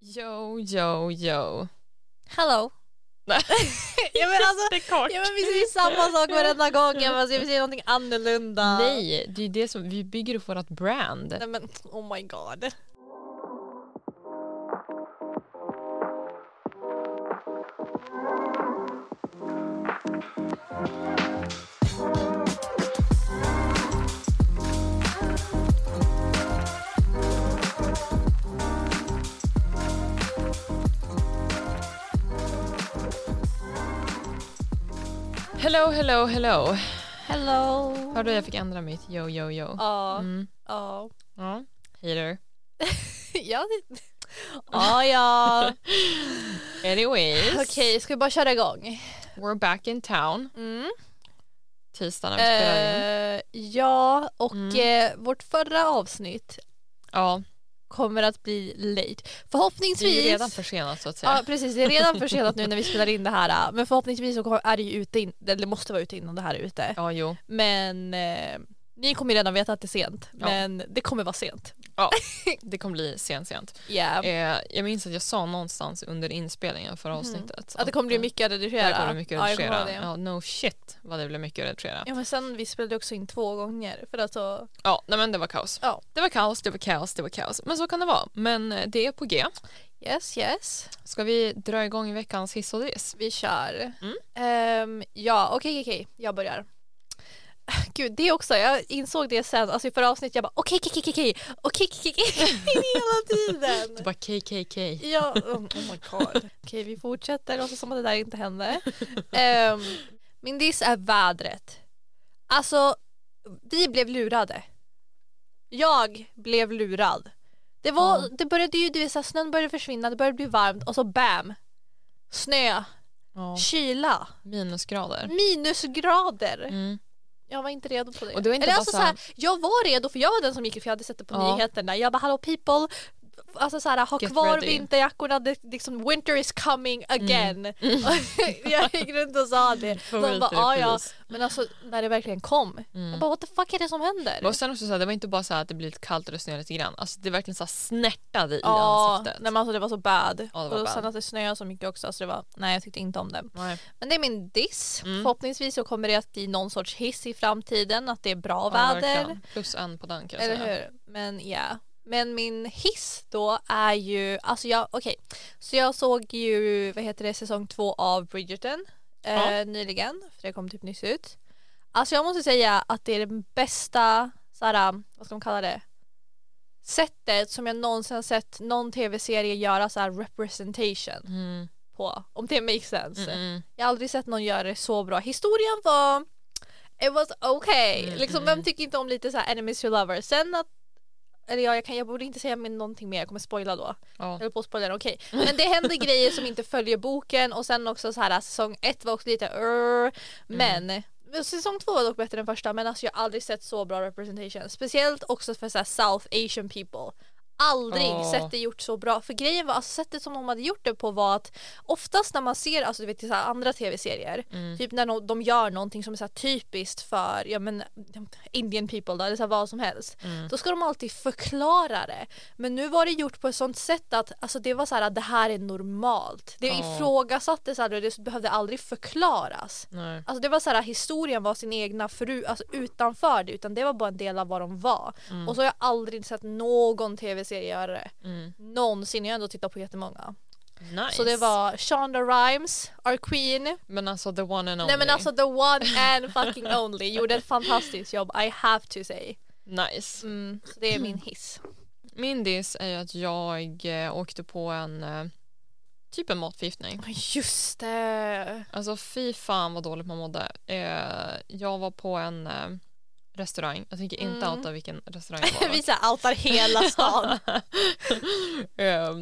Yo, yo, yo. Hello. Nej. ja men alltså, Jättekort. ja, men vi säger samma sak varenda gång. Jag bara, ska vi säga någonting annorlunda? Nej, det är det som, vi bygger upp vårt brand. Nej men oh my god. Hello, hello, hello. Hello. Hörde du, jag fick ändra mitt yo, yo, yo. Ja, Mm. ja. Ja. Hater. Ja, det... ja. ja. Anyways. Okej, ska vi bara köra igång? We're back in town. Mm. Tisdag när vi spelar in. Eh, ja, och Mm. eh, vårt förra avsnitt Ja, kommer att bli late. det är Förhoppningsvis ju redan försenat så att säga. Ja precis, det är redan försenat nu när vi spelar in det här. Men förhoppningsvis så är det ju ute, in, eller det måste vara ute innan det här är ute. Ja, jo. Men eh, ni kommer ju redan veta att det är sent. Ja. Men det kommer vara sent. Det kommer bli sent, sent. Yeah. Eh, jag minns att jag sa någonstans under inspelningen för avsnittet. Mhm. Att det kommer bli eh, mycket att redigera. det kommer bli mycket att Ja, jag kommer redigera. ihåg det. Ja, no shit vad det blev mycket att redigera. Ja men sen vi spelade också in två gånger för att så, Ja, nej men det var kaos. Ja. Det var kaos, det var kaos, det var kaos. Men så kan det vara. Men eh, det är på G. yes yes, Ska vi dra igång veckans hiss och diss? vi kör. Mm. Ehm, ja okej okej, jag börjar. Gud det också, jag insåg det sen, alltså i förra avsnittet jag bara okej okej okej okej, okej okej okej hela tiden. Det var KKK. Ja, oh my god. Okej, vi fortsätter låtsas som att det där inte hände. Ehm, min diss är vädret. Alltså, vi blev lurade. Jag blev lurad. Det, var, Ja. det började ju, du vet, så här, snön började försvinna, det började bli varmt och så bam! Snö, Ja, kyla, Mm. minusgrader. minusgrader. Mm. Jag var inte redo på det. Och det var inte Eller bara alltså, så så här- här, jag var redo för jag var den som gick för jag hade sett det på Ja. nyheterna. Jag bara hallå people, alltså så här, ha Get kvar ready. Mm. vinterjackorna, det, liksom, winter is coming again. jag gick runt och sa det. De bara, ja, ja. Men alltså när det verkligen kom, Mm. jag bara what the fuck är det som händer? Och sen också så här, det var inte bara så här att det blir lite kallt och det snöade lite grann. Alltså det verkligen så här snärtade i Ja, nej, ansiktet. men alltså det var så bad. Ja, det var och bad. sen att det snöade så mycket också, alltså det var, nej jag tyckte inte om det. Nej. Men det är min diss. Mm. Förhoppningsvis så kommer det att bli någon sorts hiss i framtiden, att det är bra Ja, väder. verkligen. Plus en på den kan jag Eller säga. hur? Men ja. Men min hiss då är ju, alltså jag, okej. Så jag såg ju, vad heter det, säsong två av Bridgerton Ja. eh, nyligen. För det kom typ nyss ut. Alltså jag måste säga att det är den bästa, såhär, vad ska man kalla det? Sättet som jag någonsin har sett någon tv-serie göra så här representation Mm. på. Om det makes sense. Mm, mm. Jag har aldrig sett någon göra det så bra. Historien var it was okay. Mm, liksom, mm. vem tycker inte om lite så här enemies to lovers? Sen att eller ja, jag, kan, jag borde inte säga men någonting mer, jag kommer spoila då. Ja. Jag höll på att spoila den, okej. Men det händer grejer som inte följer boken och sen också så här säsong ett var också lite "Urr", men Mm. men säsong två var dock bättre än första men alltså jag har aldrig sett så bra representation. Speciellt också för så här South Asian people. Aldrig Ja. sett det gjort så bra. För grejen var, alltså sättet som de hade gjort det på var att oftast när man ser alltså, du vet, i så här andra tv-serier, Mm. typ när de, de gör någonting som är så här typiskt för ja, men, Indian people då, eller så här, vad som helst, Mm. då ska de alltid förklara det. Men nu var det gjort på ett sånt sätt att alltså, det var så här att det här är normalt. Det Ja. ifrågasattes aldrig, det behövde aldrig förklaras. Nej. Alltså det var så här, historien var sin egna fru, alltså utanför det utan det var bara en del av vad de var. Och så har jag aldrig sett någon tv-serie göra det. Mm. Någonsin, jag har ändå tittat på jättemånga. Nice. Så det var Shonda Rhimes, our queen. Mm. Men alltså the one and only. Nej men alltså the one and fucking only gjorde ett fantastiskt jobb, I have to say. Nice. Mm, så det är min hiss. Min diss är ju att jag eh, åkte på en eh, typ en matförgiftning. Just det! Alltså fy fan vad dåligt man mådde. Eh, jag var på en eh, restaurang, jag tänker inte Mm. outa vilken restaurang det var. Vi så här outar hela stan. eh,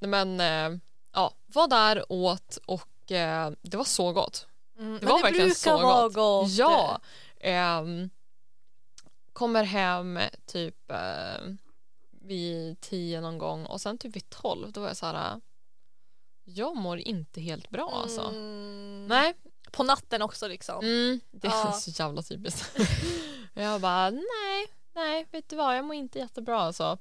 nej, men eh, ja, var där, åt och eh, det var så gott. Mm, men var verkligen så gott. gott. Ja. ehm, kommer hem typ eh, vid tio någon gång och sen typ vid tolv då var jag så här. Jag mår inte helt bra alltså. Mm, Nej, På natten också liksom. mm, det är Ja. så jävla typiskt. jag bara nej, nej, vet du vad, jag mår inte jättebra alltså.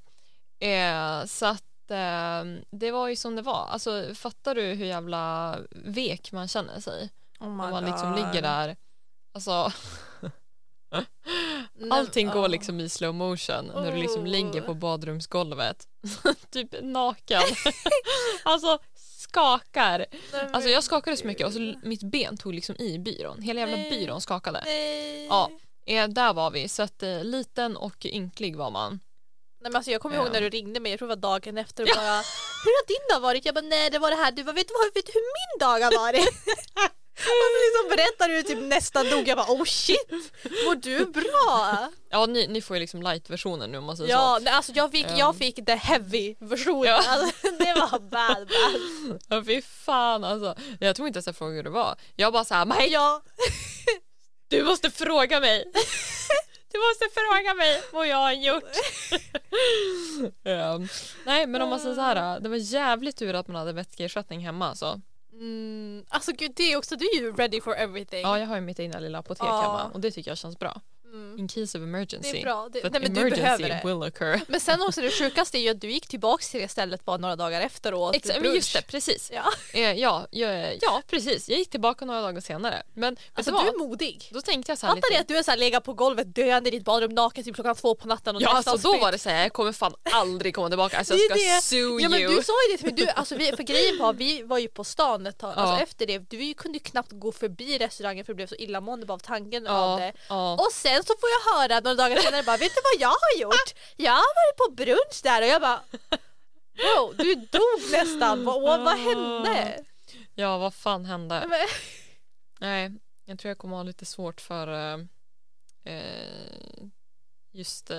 Eh, så att att eh, det var ju som det var. Alltså, fattar du hur jävla vek man känner sig? Oh my Om man God. liksom ligger där. Alltså, Nej, allting går ja. liksom i slow motion när du liksom Oh. ligger på badrumsgolvet. typ naken. alltså skakar. Nej, men Alltså jag skakade så mycket och så gud. l- mitt ben tog liksom i byrån. Hela jävla Nej. byrån skakade. Nej. Ja. Eh, där var vi, så att eh, liten och ynklig var man. Nej, men alltså jag kommer ihåg Ja. när du ringde mig, jag tror det var dagen efter och bara Hur har din dag varit? Jag bara nej det var det här, du bara vet du vad, vet du hur min dag har varit? och så liksom berättar du typ nästan dog, jag bara oh shit, mår du bra? Ja, ni, ni får ju liksom light-versionen nu om man säger ja, nej, alltså jag fick, Ja. jag fick the heavy versionen, Ehm. Ja. alltså, det var bad bad. så. Ja, fy fan alltså. Jag tror inte ens jag frågade hur det var. Jag bara såhär, Maja, Ja, du måste fråga mig. Du måste fråga mig vad jag har gjort. Ehm, nej, men om man säger så här, äh, det var jävligt tur att man hade vätskeersättning hemma alltså. mm, alltså gud det är också, du är ju ready for everything. Ja, jag har ju mitt egna lilla apotek Ja. hemma och det tycker jag känns bra. Mm. In case of emergency. Det är bra, det, För att nej men du emergency behöver det. will occur. Men sen också det sjukaste är ju att du gick tillbaka till det stället bara några dagar efter och åt Exakt, men brunch. just det, precis. Ja. Eh, ja, ja, ja, precis. Jag gick tillbaka några dagar senare. Men vet Alltså du vad? du är modig. Då tänkte jag så här Fatta det lite... att du är såhär legat på golvet döende i ditt badrum naken till klockan två på natten och Ja, nästan alltså då spytt. var det så här, jag kommer fan aldrig komma tillbaka. Alltså Det jag är ska det. sue Ja men you. du sa ju det till mig, du, alltså vi, för grejen var vi var ju på stan ett tag, Ja. alltså efter det, du ju- kunde ju knappt gå förbi restaurangen för du blev så illamående bara av tanken av ja, det. ja. Och sen så får jag höra några dagar senare bara vet du vad jag har gjort? Jag har varit på brunch där och jag bara Wow, du dog nästan, vad, vad, vad hände? ja, vad fan hände? Men, Nej, jag tror jag kommer ha lite svårt för eh, eh, just eh,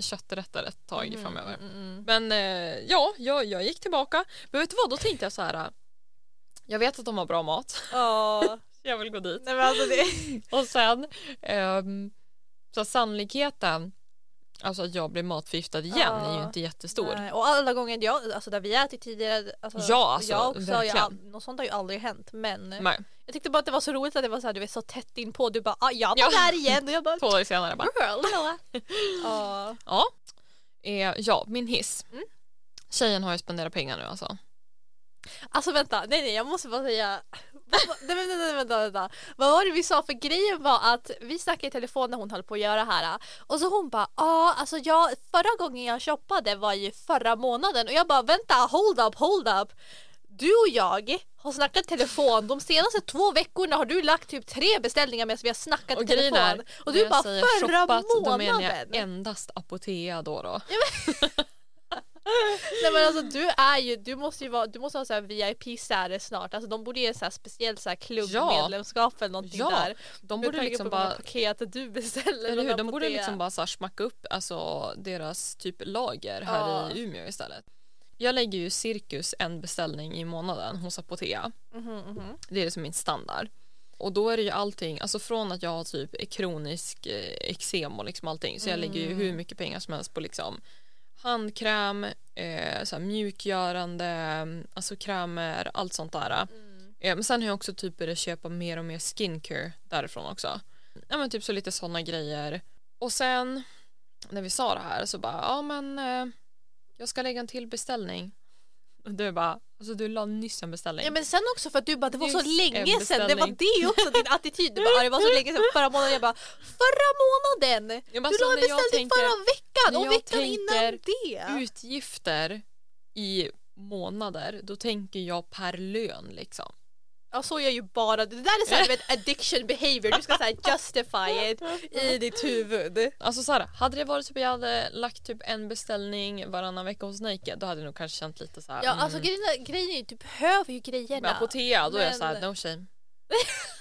kötträtter ett tag framöver. Mm, mm, mm. Men eh, ja, jag, jag gick tillbaka. Men vet du vad, då tänkte jag så här. eh, Jag vet att de har bra mat. Ja, Jag vill gå dit. nej men alltså det... Och sen ehm, så sannolikheten alltså att jag blir matförgiftad igen Ja. är ju inte jättestor. Nej, och alla gånger jag, alltså där vi ätit tidigare, alltså, Ja, alltså, jag också, jag, verkligen. all- något sånt har ju aldrig hänt men Nej. jag tyckte bara att det var så roligt att det var så här, du vet så tätt inpå, du bara ah, jag var Ja. där igen och jag bara Två dagar senare bara. girl. Ja. Ja, eh, ja min hiss. Mm. Tjejen har ju spenderat pengar nu alltså. Alltså vänta, nej nej jag måste bara säga, Vad var- nej, vänta, vänta, vänta, vänta. vad var det vi sa för grejen var att vi snackade i telefon när hon höll på att göra det här och så hon bara ja alltså jag, förra gången jag shoppade var ju förra månaden och jag bara vänta hold up hold up du och jag har snackat telefon de senaste två veckorna har du lagt typ tre beställningar medan vi har snackat i Och grejen telefon är, och när du jag bara säger förra shoppat, Då menar månaden jag endast Apotea då. då. Nej men alltså du är ju, du måste ju vara, du måste ha såhär vip säre snart, alltså de borde ge såhär speciellt såhär klubbmedlemskap eller någonting Ja, där. De Med borde tanke liksom på hur många bara paket du beställer. eller och hur? De på borde det. liksom bara så här smacka upp alltså, deras typ lager här Ja. i Umeå istället. Jag lägger ju cirkus en beställning i månaden hos Apotea. Mhm, mhm. Det är liksom min standard. Och då är det ju allting, alltså från att jag har typ är kronisk eh, eksem och liksom allting så jag lägger ju hur Mm. mycket pengar som helst på liksom handkräm, eh, så här mjukgörande, alltså krämer, allt sånt där. Eh, men sen har jag också typ börjat köpa mer och mer skincare därifrån också. Ja men typ så lite sådana grejer. Och sen när vi sa det här så bara, ja men eh, jag ska lägga en till beställning. Och du bara, alltså du la nyss en beställning. Ja men sen också för att du bara det var så Just en länge sedan, det var beställning. det är ju också din attityd. Du bara, "Ah, det var så länge sedan förra månaden, jag bara förra månaden! Ja, men alltså, du la en när jag beställning tänker- förra veckan när och jag veckan innan tänker det. utgifter i månader, då tänker jag per lön liksom. Ja så gör ju bara, det där är såhär du vet addiction behavior, du ska såhär justify it i ditt huvud. Alltså så här, hade det varit typ jag hade lagt typ en beställning varannan vecka hos Nike, då hade jag nog kanske känt lite så här. Ja alltså grejen, är- grejen är ju, du behöver ju grejerna. med Apotea, då är jag så här, Men- no shame.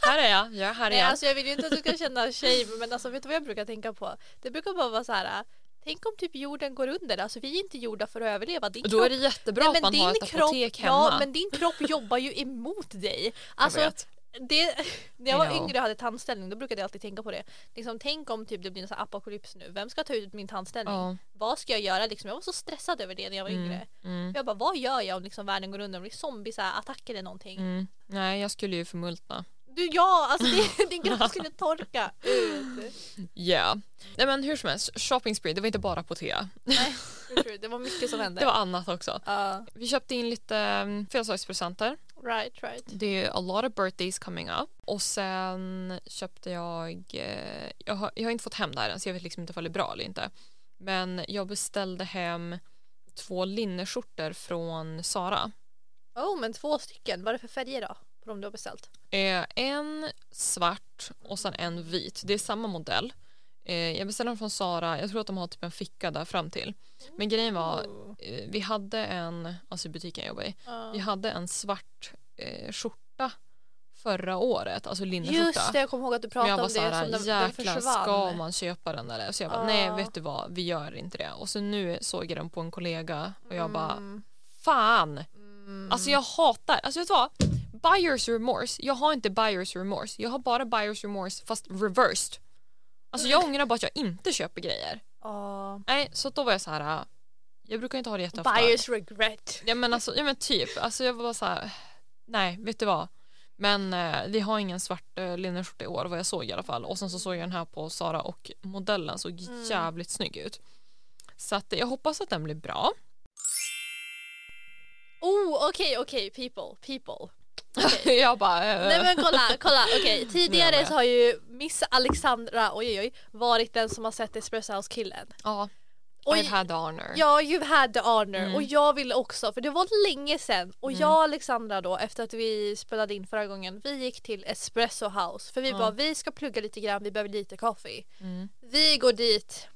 här är jag, jag är här Nej, igen. alltså jag vill ju inte att du ska känna shame men alltså vet du vad jag brukar tänka på? Det brukar bara vara så här. äh, Tänk om typ jorden går under, alltså vi är inte gjorda för att överleva. Din Då är kropp- det jättebra Nej, att man har ett apotek hemma. Ja men din kropp jobbar ju emot dig. Alltså, jag vet. det, när jag var I know. yngre och hade tandställning då brukade jag alltid tänka på det. Liksom, tänk om typ, det blir en sån här apokalyps nu, vem ska ta ut min tandställning? Ja. Vad ska jag göra? Liksom, jag var så stressad över det när jag var yngre. Mm, Jag bara, vad gör jag om liksom, världen går under, om det är zombie, så här, attacker eller någonting? mm. Nej, jag skulle ju förmultna. Du ja, alltså det, din kropp skulle torka ut. Yeah. Nej men hur som helst, shopping spree, det var inte bara på Thea. Nej, for sure. det var mycket som hände. Det var annat också. Ja, Vi köpte in lite mm, födelsedagspresenter. right, right. Det är a lot of birthdays coming up. Och sen köpte jag, eh, jag har, jag har inte fått hem det här än så jag vet liksom inte om det är bra eller inte. Men jag beställde hem två linneskjortor från Sara. Oh, men två stycken. Vad är det för färger då? På de du har beställt? Eh, en svart och sen en vit. Det är samma modell. Eh, jag beställde den från Sara. Jag tror att de har typ en ficka där fram till. Men grejen var, Oh. eh, vi hade en, alltså i butiken jag jobbar i, Ja. vi hade en svart eh, skjorta förra året, alltså linneskjorta. Just det, jag kommer ihåg att du Men pratade jag om var det. såhär, som den, den jäklar försvann. ska man köpa den eller? Så jag bara, Ja. nej vet du vad, vi gör inte det. Och så nu såg jag den på en kollega och jag bara, Mm, fan! mm. Alltså jag hatar, alltså vet du vad? Buyers remorse, jag har inte buyers remorse. Jag har bara buyers remorse fast reversed. Alltså jag ångrar bara att jag inte köper grejer. Ja. Nej, så då var jag så här. äh, jag brukar inte ha det jätteofta. Buyers regret. Ja men alltså, ja men typ. Alltså jag var bara så här. nej vet du vad. Men eh, vi har ingen svart eh, linneskjorta i år vad jag såg i alla fall. Och sen så såg jag den här på Sara och modellen såg Mm. jävligt snygg ut. Så att eh, jag hoppas att den blir bra. Oh, okej, okej, people, people. jag bara, eh, Nej men kolla, kolla. Okej, Nu är jag tidigare med. så har ju Miss Alexandra, oj oj oj, varit den som har sett Espresso House-killen. ja, I've Oj, had the honor. ja, you had the honor Mm. och jag ville också för det var länge sedan och Mm. jag och Alexandra då efter att vi spelade in förra gången, vi gick till Espresso House för vi Ja. bara vi ska plugga lite grann, vi behöver lite kaffe. Mm. Vi går dit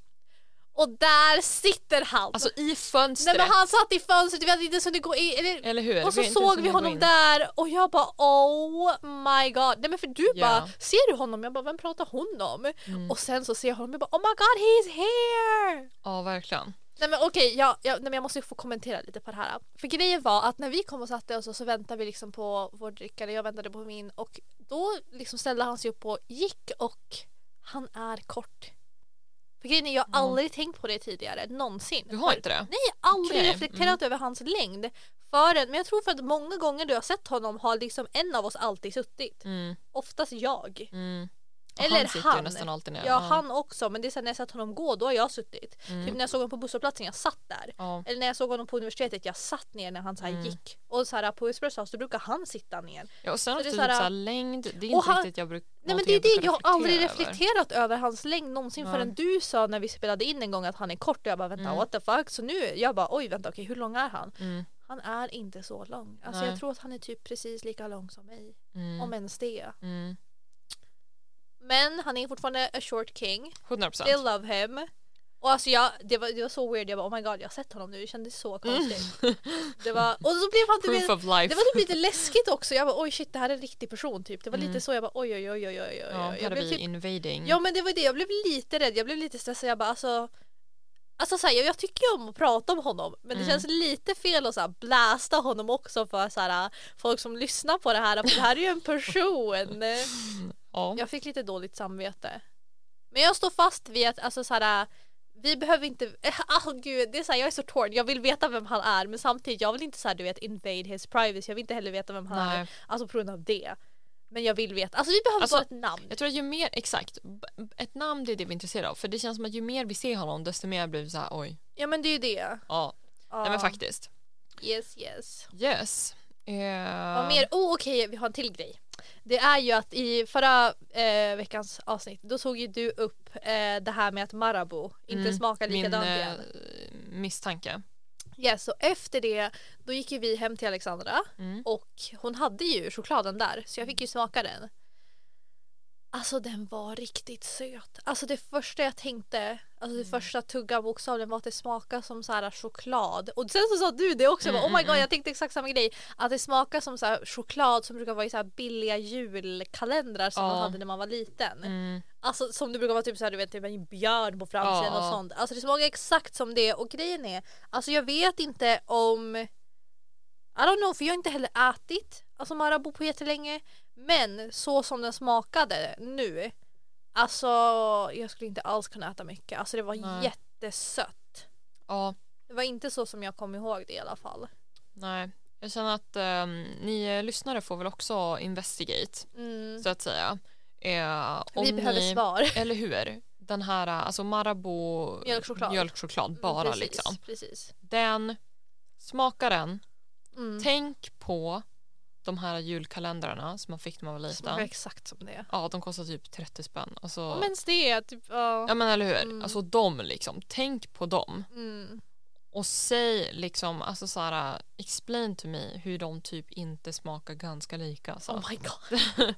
och där sitter han! Alltså i fönstret. Nej men han satt i fönstret, vi hade inte hunnit gå in. Eller, Eller hur? Och så har inte ens såg vi hunnit gå honom in. där och jag bara oh my god. Nej men för du Ja. bara, ser du honom? Jag bara, vem pratar hon om? Mm. Och sen så ser jag honom jag bara, oh my god he's here! Ja, verkligen. Nej men okej, jag, jag, nej, men jag måste få kommentera lite på det här. För grejen var att när vi kom och satte oss och så väntade vi liksom på vår dricka, eller jag väntade på min och då liksom ställde han sig upp och gick och han är kort. För grejen är, jag har Ja. aldrig tänkt på det tidigare, någonsin. Du har inte det? Nej, aldrig Okej, mm. reflekterat över hans längd förrän, men jag tror för att många gånger du har sett honom har liksom en av oss alltid suttit. Mm, Oftast jag. mm. Och Eller han sitter ju han. nästan alltid ner. Ja, han också, men det är sen när jag sett honom gå, då har jag suttit. Mm. Typ när jag såg honom på busshållplatsen, jag satt där. Ja. Eller när jag såg honom på universitetet, jag satt ner när han så här Mm. gick. Och så här, på Espresso House, då brukar han sitta ner. ja, och sen Så också det är typ så här- såhär längd, det är inte Och han- riktigt jag brukar Nej men det är det, jag har aldrig reflekterat reflekterat över hans längd någonsin Nej. förrän du sa när vi spelade in en gång att han är kort och jag bara vänta Mm. what the fuck. Så nu, jag bara oj vänta okej hur lång är han? över. Mm, Han är inte så lång. Alltså Nej. jag tror att han är typ precis lika lång som mig. mm, Om ens det. mm. Men han är fortfarande a short king. 100 They procent. love him. Och alltså jag, det, var, det var så weird, jag bara oh my god jag har sett honom nu, det kändes Mm. så konstigt. Det var, och så blev han Proof typ, of life. det var typ lite läskigt också, jag bara oj shit det här är en riktig person typ. Det var Mm. lite så jag bara oj oj oj oj oj. oj. ja, jag jag blev typ, invading. ja men det var det, jag blev lite rädd, jag blev lite stressad, jag bara alltså Alltså så här, jag, jag tycker ju om att prata om honom men det Mm. känns lite fel att så här, blästa honom också för så här, folk som lyssnar på det här. För det här är ju en person. ja. Jag fick lite dåligt samvete. Men jag står fast vid att alltså, så här, vi behöver inte, ah gud, det är så här, jag är så torn. Jag vill veta vem han är men samtidigt jag vill inte så här, du vet invade his privacy. Jag vill inte heller veta vem han är. Nej. Alltså på grund av det. Men jag vill veta. Alltså vi behöver Alltså, bara ett namn. Jag tror att ju mer, exakt, b- b- ett namn det är det vi är intresserade av. För det känns som att ju mer vi ser honom desto mer blir vi såhär oj, Ja men det är ju det. ja. Nej Ja. men faktiskt. Yes yes. Yes. Eh, Vad mer? Oh okej, vi har en till grej. Det är ju att i förra eh, veckans avsnitt då tog ju du upp eh, det här med att Marabou inte Mm, smakar min likadant eh, igen. misstanke. Yes, så efter det då gick ju vi hem till Alexandra Mm. och hon hade ju chokladen där så jag fick ju smaka den. Alltså den var riktigt söt. Alltså det första jag tänkte, alltså det Mm. första tuggan bokstavligen var att det smakar som så här choklad. Och sen så sa du det också, jag bara, Mm, oh my mm, god jag tänkte exakt samma grej. Att det smakar som så här choklad som brukar vara i så här billiga julkalendrar som Ja. man hade när man var liten. Mm. Alltså som det brukar vara typ såhär du vet typ en björn på Ja. framsidan och sånt. Alltså det smakar exakt som det och grejen är alltså jag vet inte om I don't know för jag har inte heller ätit alltså Marabou på jättelänge men så som den smakade nu alltså jag skulle inte alls kunna äta mycket alltså det var Nej. jättesött. Ja, Det var inte så som jag kom ihåg det i alla fall. nej. Jag känner att ehm, ni lyssnare får väl också investigate Mm. så att säga. Eh, om Vi behöver ni, svar. Eller hur? Den här alltså Marabou Mjölkchoklad. Mm, mjölkchoklad bara precis, liksom. Precis. Den, smaka den. Mm. Tänk på de här julkalendrarna som man fick när man var Så man var liten. exakt som det är. Ja, de kostar typ 30 spänn. Alltså, Om ens det är typ, ja. Ja men eller hur, Mm. alltså de liksom, tänk på dem Mm. och säg liksom, alltså såhär, explain to me hur de typ inte smakar ganska lika. Alltså. Oh my god.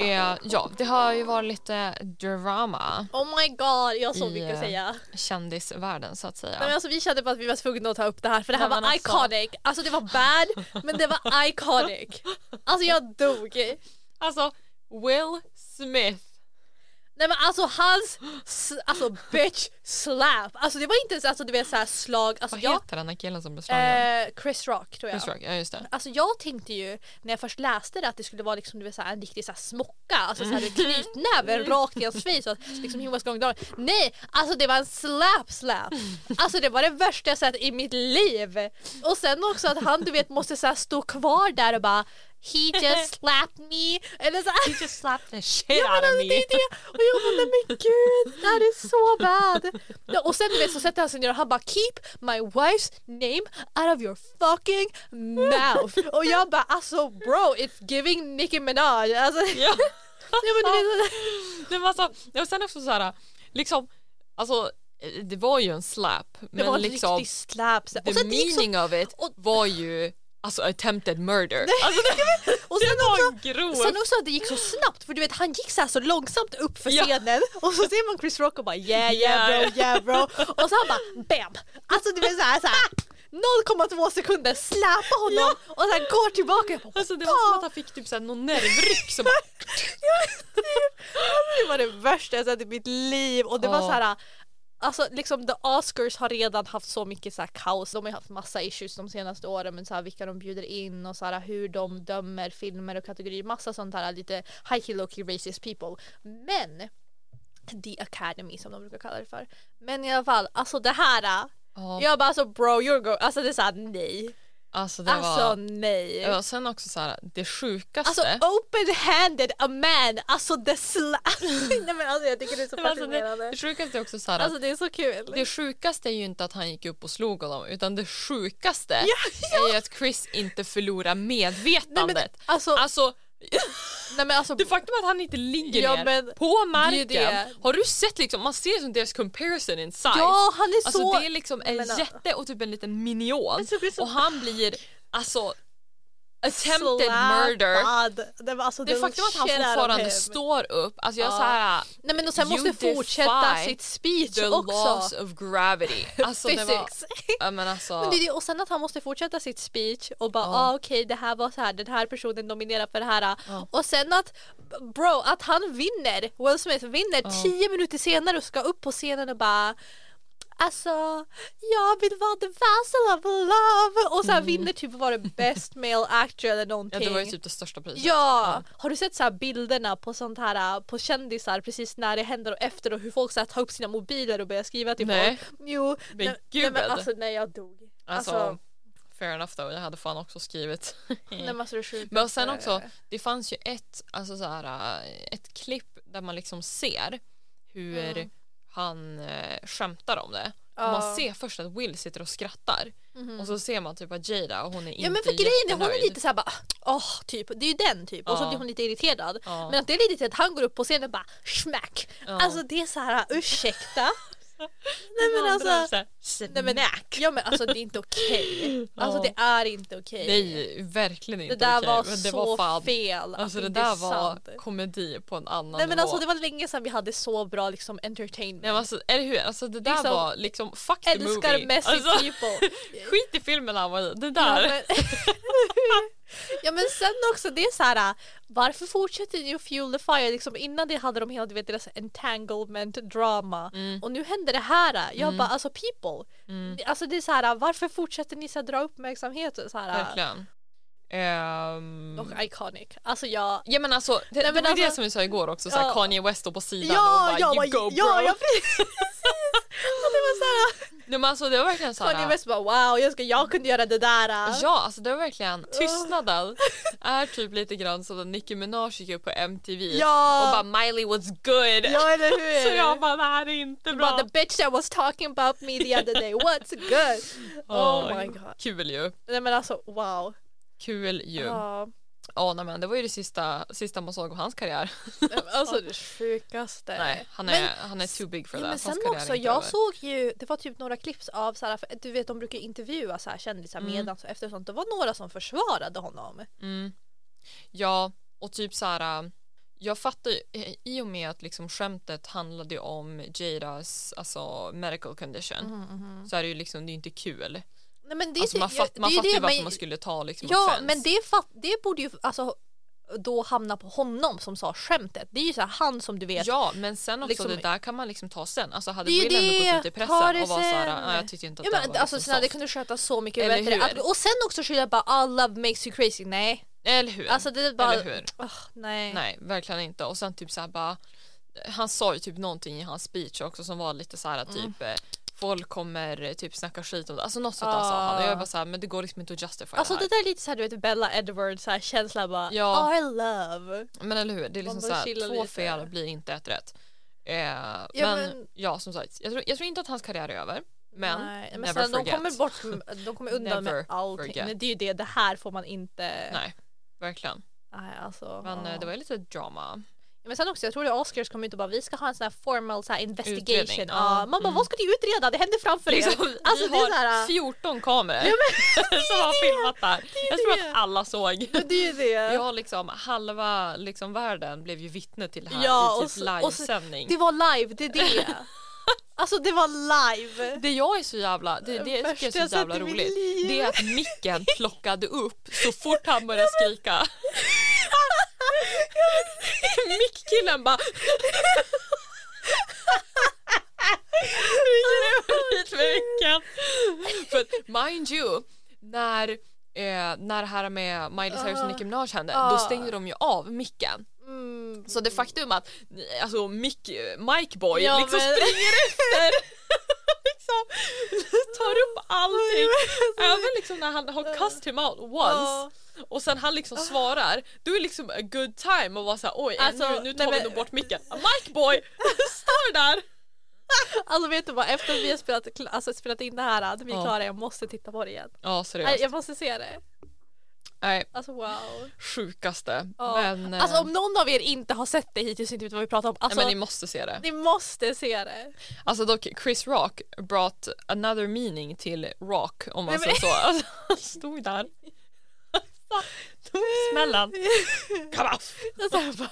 eh, ja, det har ju varit lite drama, Oh my god, jag såg I, mycket att säga. kändisvärlden så att säga. Nej, men alltså, vi kände bara att vi var tvungna att ta upp det här för det här Nej, men var alltså- iconic. Alltså det var bad men det var iconic. Alltså jag dog. Alltså, Will Smith. Nej men alltså hans s- alltså, bitch slap. Alltså det var inte ens alltså, du vet, så här slag. Alltså, Vad jag, heter den där killen som blev slagen? eh, Chris Rock tror jag. Chris Rock, ja just det. Alltså jag tänkte ju när jag först läste det att det skulle vara liksom, du vet, så här, en riktig så här, smocka, alltså så här, Mm. med knytnäven rakt i hans face och att liksom he was going down. Nej, alltså det var en slap slap. Alltså det var det värsta jag sett i mitt liv. Och sen också att han du vet måste så här, stå kvar där och bara He just slapped me. Eller så här. Just slapped the shit Ja, men alltså, det är det. Och jag bara, nej men gud, det här är så bad. Ja, och sen du vet så sätter han sig ner och han bara keep my wife's name out of your fucking mouth. Och jag bara alltså bro it's giving Nicki Minaj. Alltså, Ja. ja, men, du vet, Det var så, ja, och sen också så här, liksom, alltså eh, det var ju en slap det men var en liksom riktig slap. så- the Och sen, det gick så, meaning of it och- var ju alltså attempted murder. Alltså och sen det också var grovt. Sen också att det gick så snabbt för du vet han gick så här så långsamt upp för Ja. scenen och så ser man Chris Rock och bara yeah yeah bro yeah bro och så han bara bam! Alltså det blir så här, så här 0,2 sekunder släpar honom och sen går tillbaka. Jag bara, Alltså det var som att han fick typ såhär någon nervryck som bara, det var det värsta jag sett i mitt liv och det var Ja. så här Alltså liksom the Oscars har redan haft så mycket så här kaos, de har ju haft massa issues de senaste åren men så här, vilka de bjuder in och så här, hur de dömer filmer och kategorier, massa sånt här lite high key low key racist people. Men The Academy som de brukar kalla det för. Men i alla fall, alltså det här, ja, jag bara alltså bro you're go, alltså det är såhär nej. alltså det Alltså var nej. ja, sen också så här, det Alltså sjukaste open-handed a man, alltså the sla- Nej men alltså jag tycker det är så det, var alltså det, fascinerande. det sjukaste är också så här, Alltså det är så kul. det sjukaste är ju inte att han gick upp och slog honom utan det sjukaste är ju att Chris inte förlorar Nej medvetandet. men alltså, Alltså nej, men alltså Det faktum att han inte ligger Ja, ner men på det är ju marken. det. Har du sett liksom, man ser som deras comparison in size. ja han är alltså så... det är liksom en men, ja. jätte och typ en liten minion Alltså, det är så- och han blir alltså attempted murder. slappad. Det, var, alltså, Det the faktum att han shit out of him. fortfarande står upp, alltså jag Ja. ja. såhär Nej men och sen You måste fortsätta defy sitt speech the laws också. of gravity. Alltså det var, Physics. ja, men alltså, Men det är det, och sen att han måste fortsätta sitt speech och bara Ja. ah, okej det här var så här, den här personen nominerar för det här. Ja. Och sen att bro, att han vinner, Will Smith vinner tio minuter senare och ska upp på scenen och bara Alltså, jag vill vara the vessel of love! Och så här vinner typ var det best male actor eller Mm. ja, någonting. det var ju typ det största priset. Ja! Har du sett så här bilderna på sånt här äh, på kändisar precis när det händer och efter och hur folk så här tar upp sina mobiler och börjar skriva till Nej. folk? Jo, Men nej, nej, gud. men alltså nej jag dog. Alltså, fair enough though, jag hade fan också skrivit. nej, men alltså det är sjukt. Men och sen också, det fanns ju ett, alltså så här, äh, ett klipp där man liksom ser hur han Mm. eh, skämtar om det. Ja. Mhm. Och man ser först att Will sitter och skrattar och så ser man typ att Jada och hon är Ja inte men för grejen är hon är jättenöjd. lite såhär bara åh typ, det är ju den typ och så Ja. blir hon lite irriterad. Ja. Men att det är lite till att han går upp på scenen och bara smack. Ja. Alltså det är såhär ursäkta. nej Den men andra är alltså, så här, nej men, ja, men alltså det är inte okej. Alltså Ja. det är inte okej. Nej, verkligen Det inte där okej, var men så fel. att Alltså det det inte är där var sant. komedi på en annan Nej men nivå. alltså det var länge sedan vi hade så bra liksom entertainment. Nej, men alltså, eller hur? Alltså det där Liksom, var liksom fuck the Älskar movie. messy alltså, people. skit i filmen han var i, det Ja där. men, ja men sen också det är så här varför fortsätter ni att fuel the fire liksom innan det hade de hela du vet, deras entanglement drama Mm. och nu händer det här. Jag bara alltså people. Alltså det är så här varför fortsätter ni så här, dra uppmärksamhet och så här. Verkligen. Ehm, Och iconic. Alltså jag... ja men alltså, det, Nej, men det var det alltså- som vi sa igår också, så här, Ja. Kanye West står på sidan och bara Ja, you jag go ja, bro. ja, jag precis! Och det var såhär, Nej, men alltså, det var verkligen så här, Kanye West bara wow, jag, ska, jag kunde göra det där. Ja, alltså det var verkligen tystnaden är typ lite grann som när Nicki Minaj gick upp på MTV Ja. och bara Miley was good. ja eller hur? Så jag bara det här är inte But bra. the bitch that was talking about me the other day, what's good? Oh, my god. Kul ju, Nej men alltså wow. kul ju. Ja Ja. nej, men det var ju det sista, sista man såg av hans karriär. Alltså det sjukaste. Nej, han är, Men- han är too big for Ja, that. men Hans karriär sen är också, inte jag över. såg ju, det var typ några klipps av så här, för du vet de brukar ju intervjua så här, kändisar Mm. medans och efter och sånt. Det var några som försvarade honom. Mm. Ja, och typ så här... äh, Jag fattar ju, eh, i och med att liksom skämtet handlade ju om Jadas alltså medical condition så är det ju liksom, det är ju inte kul. Nej, men Mm. det, är Mm, Alltså typ- man, jag- fatt, det man är fattar ju det, varför men- man skulle ta liksom Ja offense. men det, fatt, det borde ju alltså, då hamna på honom som sa skämtet. Det är ju så här, han som du vet. Ja, men sen också liksom- det där kan man liksom ta sen. Alltså hade Det är ju Willem det, gått ut i ta pressen det och var såhär, sen. nej jag tyckte inte att Ja, det men, var alltså, liksom såna, det soft. kunde skötas så mycket Eller bättre. hur? Att, och sen också skylla bara all love makes you crazy. Nej. Eller hur? Alltså det är bara... Eller hur? Åh, nej. Nej, verkligen inte. Och sen typ såhär bara, han sa ju typ någonting i hans speech också som var lite såhär Mm. typ eh, Folk kommer eh, typ snacka skit om det. Alltså något sånt där sa han. Och jag är bara såhär, men det går liksom inte att justifiera Ah. Alltså det det här. där är lite såhär du vet Bella Edwards så här, känsla bara Ja. our love. Men eller hur, det är liksom Man bara såhär, chillar två lite. fel blir inte ett rätt. Eh, men, men- ja som sagt, jag tror, jag tror inte att hans karriär är över. Men, Nej, men never snälla, de forget. kommer bort, de kommer undan Never med allting. forget. Men det är ju det, det här får man inte. Nej, verkligen. Nej, alltså, Men ja. eh, det var ju lite drama. Ja, men sen också, jag tror att Oscars kommer ut och bara vi ska ha en sån här formal så här investigation. Utredning, ja. Mm. Ja. Man bara vad ska ni utreda? Det händer framför Liksom, er. Alltså vi det är har så här, 14 kameror som har filmat där. Jag tror det. att alla såg. men det är ju det. Ja, liksom, halva liksom, världen blev ju vittne till det här Ja, i och typ så- och så- livesändning. Det var live, det är det. alltså det var live. Det jag är så jävla, det, det jag tycker Första jag är jag så jävla sett i mitt roligt liv. det är att micken plockade upp så fort han började skrika. Mickkillen bara... Ringer ut med micken. För att, mind you, när, eh, när det här med Miley Cyrus och Nicki Minaj hände då Ah. stängde de ju av micken. Mm. Så det faktum att alltså, Mick, Mike Boy Ja, liksom men- springer efter liksom, tar upp allting. Även liksom när han har cussed him out Ja. once och sen han liksom svarar, då är liksom a good time och vara såhär oj Alltså, nu, nu tar nej, vi men- nog bort micken. Mike Boy står där! Alltså vet du vad, efter vi har spelat, kl- alltså, spelat in det här, att vi är Ja. klara, jag måste titta på det igen. Ja Nej, seriöst. jag måste se det. Nej, Alltså wow. sjukaste. Ja. Men, eh, Alltså om någon av er inte har sett det hittills och inte vet vad vi pratar om, alltså nej, men ni måste se det. ni måste se det. Alltså dock, Chris Rock brought another meaning till rock om man Nej, men- säger så. Alltså, han stod där. Alltså, Tog smällen. Kabaff! Jag, så här bara,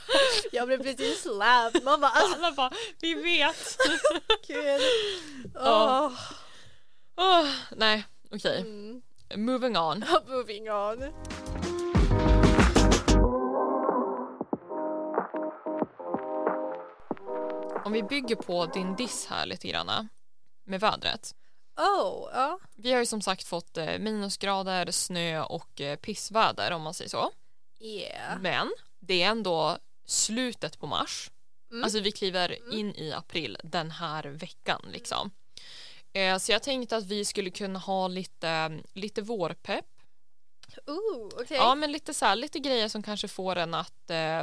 jag blev precis slapp. Man bara alltså Alla bara, vi vet. gud. Ja. Åh. Åh, Ah, nej, okej. Mm. Moving on. Moving on. Om vi bygger på din diss här lite granna med vädret. Oh, ja. Vi har ju som sagt fått eh, minusgrader, snö och eh, pissväder om man säger så. Yeah. Men det är ändå slutet på mars. Mm. Alltså vi kliver in i april den här veckan liksom. Eh, så jag tänkte att vi skulle kunna ha lite, lite vårpepp. Ooh, okej. Ja men lite så här, lite grejer som kanske får en att, eh,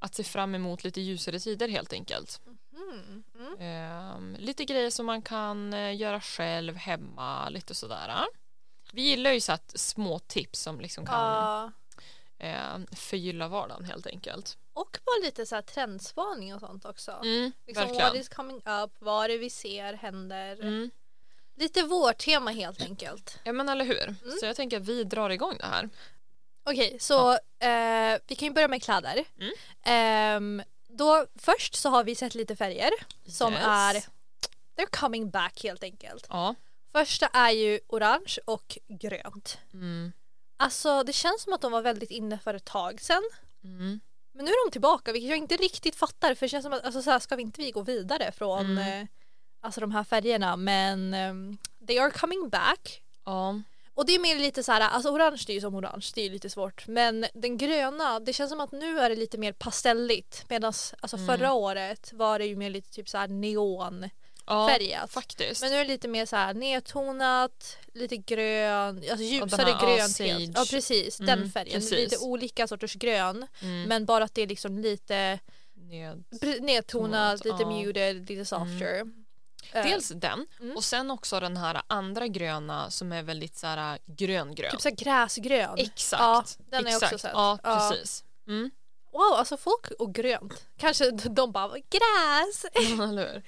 att se fram emot lite ljusare tider helt enkelt. Mm. Mm. Eh, lite grejer som man kan eh, göra själv hemma, lite sådär. Vi gillar ju så att små tips som liksom kan Ja. eh, förgylla vardagen helt enkelt. Och bara lite så här trendspaning och sånt också. Mm, liksom verkligen. what is coming up, vad är det vi ser händer. Mm. Lite vårtema helt enkelt. Ja men eller hur. Mm. Så jag tänker att vi drar igång det här. Okej, så eh, vi kan ju börja med kläder. Mm. Ehm, då, först så har vi sett lite färger som Yes. är they're coming back helt enkelt. Ja. Första är ju orange och grönt. Mm. Alltså det känns som att de var väldigt inne för ett tag sedan. Mm. Men nu är de tillbaka vilket jag inte riktigt fattar för det känns som att alltså, så här, ska vi inte vi gå vidare från Mm. eh, alltså, de här färgerna men ehm, they are coming back. Ja. Och det är mer lite så här, alltså orange det är ju som orange, det är ju lite svårt. Men den gröna, det känns som att nu är det lite mer pastelligt. Medan alltså Mm. förra året var det ju mer lite typ så här neonfärgat. Ja, faktiskt. Men nu är det lite mer så här nedtonat, lite grön, alltså ljusare här grönt. Osage. helt. Ja precis, den Mm, färgen. precis. Lite olika sorters grön. mm. Men bara att det är liksom lite Ned. pre- nedtonat, Tonat, lite ja. Mm. muted, lite softer. Eh, Dels den Mm. och sen också den här andra gröna som är väldigt så här äh, grön-grön. typ så här gräsgrön. Exakt. Ja, den har jag Exakt. också sett. Ja, Ja. precis. Mm. Wow, alltså folk och grönt. Kanske de bara gräs, Eller hur?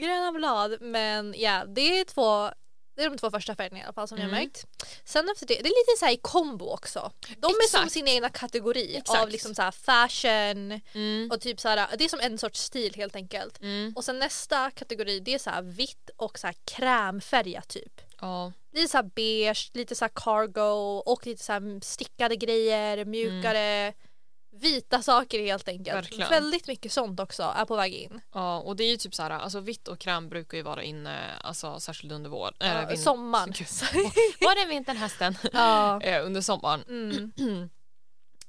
gröna blad. Men ja, det är två det är de två första färgerna i alla fall som jag Mm. har märkt. Sen efter det, det är lite så här i kombo också. De är som Exakt. sin egna kategori av Exakt. liksom så här fashion Mm. och typ så här, det är som en sorts stil helt enkelt. Mm. Och sen nästa kategori det är så här vitt och så här krämfärgat typ. Ja. Lite så här beige, lite så här cargo och lite så här stickade grejer, mjukare, vita saker helt enkelt. Verkligen. Väldigt mycket sånt också är på väg in. ja, och det är ju typ så här, alltså vitt och kräm brukar ju vara inne, alltså särskilt under vår. Ja, äh, vin- sommaren. Gud, Var det vintern, hösten? Ja. Eh, under sommaren. Mm.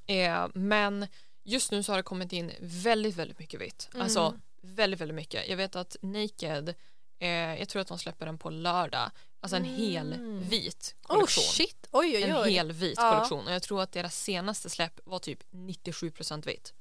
Eh, men just nu så har det kommit in väldigt, väldigt mycket vitt. Mm. Alltså väldigt, väldigt mycket. Jag vet att Naked, eh, jag tror att de släpper den på lördag, alltså en Mm. hel vit Oh kollektion. shit, oj oj en oj. hel vit Ja. kollektion och jag tror att deras senaste släpp var typ 97% vitt.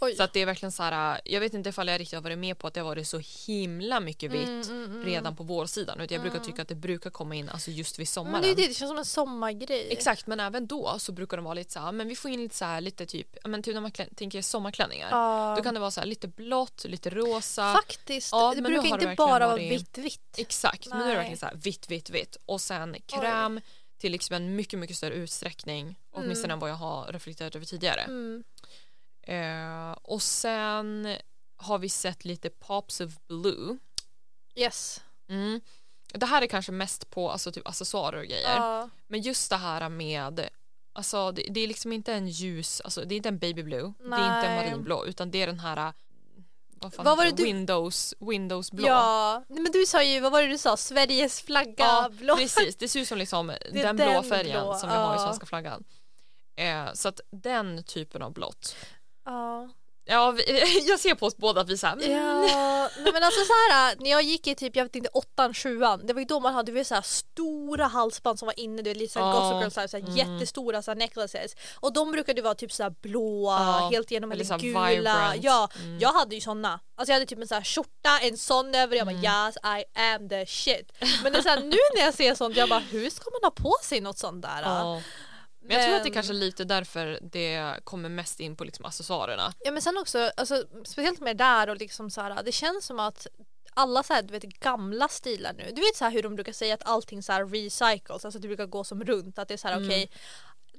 oj. Så att det är verkligen så här, jag vet inte ifall jag riktigt har varit med på att det har varit så himla mycket vitt Mm, mm, mm. redan på vårsidan. Utan jag brukar Mm. tycka att det brukar komma in alltså just vid sommaren. Men det, är det, det känns som en sommargrej. Exakt men även då så brukar de vara lite så här, "Ah, men vi får in lite så här, lite typ, ja, men typ när man klä- tänker sommarklänningar. Ja. Då kan det vara så här lite blått, lite rosa. Faktiskt, Ja, det men nu brukar har det inte verkligen bara vara varit- vitt vitt. Exakt, men nu är Nej. det verkligen så här vitt, vitt, vitt. Och sen kräm till liksom en mycket, mycket större utsträckning. Åtminstone än vad jag har reflekterat över tidigare. Mm. Eh, och sen har vi sett lite Pops of Blue. Yes. Mm. Det här är kanske mest på alltså, typ accessoarer och grejer. Ja. Men just det här med Alltså det, det är liksom inte en ljus, alltså, det är inte en baby blue, det är inte en Nej. marinblå utan det är den här vad fan Vad var heter det du- Windows, Windows blå. ja. Nej, men du sa ju, vad var det du sa? Sveriges flagga Ja, blå. precis, det ser ut som liksom den, blå den färgen blå, som vi har i ja. svenska flaggan. Eh, så att den typen av blått. Ja. Ja, vi, jag ser på oss båda att vi såhär, Ja, nej men alltså så här, när jag gick i typ, jag vet inte, åttan, sjuan, det var ju då man hade du vet, så här, stora halsband som var inne, du vet lite såhär Ja. Gossip Girl, så här, så här, Mm. jättestora så här, necklaces. Och de brukade ju vara typ så här blåa, Ja, helt igenom eller eller, så här gula. vibrant. Ja, Mm. jag hade ju såna. Alltså jag hade typ en så här skjorta, en sån över, jag bara Mm. yes I am the shit. Men det är så här, nu när jag ser sånt, jag bara hur ska man ha på sig något sånt där? Ja. Men jag tror att det är kanske är lite därför det kommer mest in på liksom accessoarerna. Ja men sen också, alltså, speciellt med det där och liksom så här, det känns som att alla så här, du vet, gamla stilar nu, du vet så här hur de brukar säga att allting så här recycles, alltså det brukar gå som runt, att det är så här Mm. okej,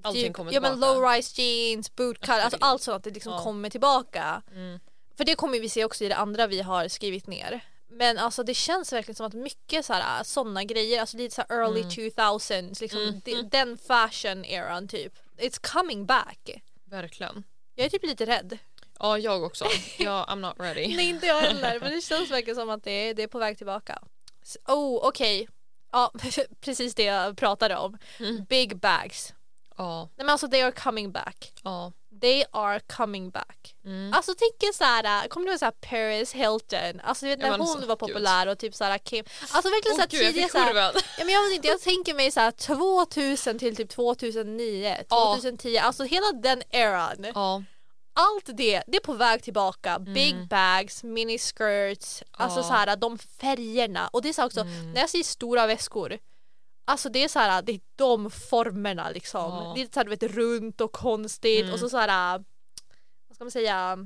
Allting typ, kommer ja, men tillbaka. low rise jeans, bootcut, alltså allt sånt att det liksom Ja. kommer tillbaka. Mm. För det kommer vi se också i det andra vi har skrivit ner. Men alltså det känns verkligen som att mycket sådana såna grejer, alltså lite så här early Mm. 2000s, liksom, de- den fashion eran typ. It's coming back. Verkligen. Jag är typ lite rädd. Ja, jag också. Ja, I'm not ready. Nej inte jag heller men det känns verkligen som att det är, det är på väg tillbaka. S- Oh okej, ja precis det jag pratade om. Mm. Big bags. Ja, Nej men alltså they are coming back. ja. They are coming back. Mm. Alltså tänk er såhär, kommer du ihåg såhär Paris Hilton? Alltså du vet Ja, när men hon alltså, var gud. populär och typ såhär Kim. Alltså verkligen Åh såhär gud, jag tidiga fick såhär. kurvan. Ja men jag vet inte, jag tänker mig såhär 2000 till typ 2009, Ja. 2010. Alltså hela den eran Ja, allt det, det är på väg tillbaka. Big bags, miniskirts, alltså Mm. Ja. Mm. så här, de färgerna. Och det är så här också, när jag säger stora väskor, alltså det är så här, det är de formerna liksom. Ja. Mm. Det är så här, du vet, runt och konstigt och så så här, vad ska man säga,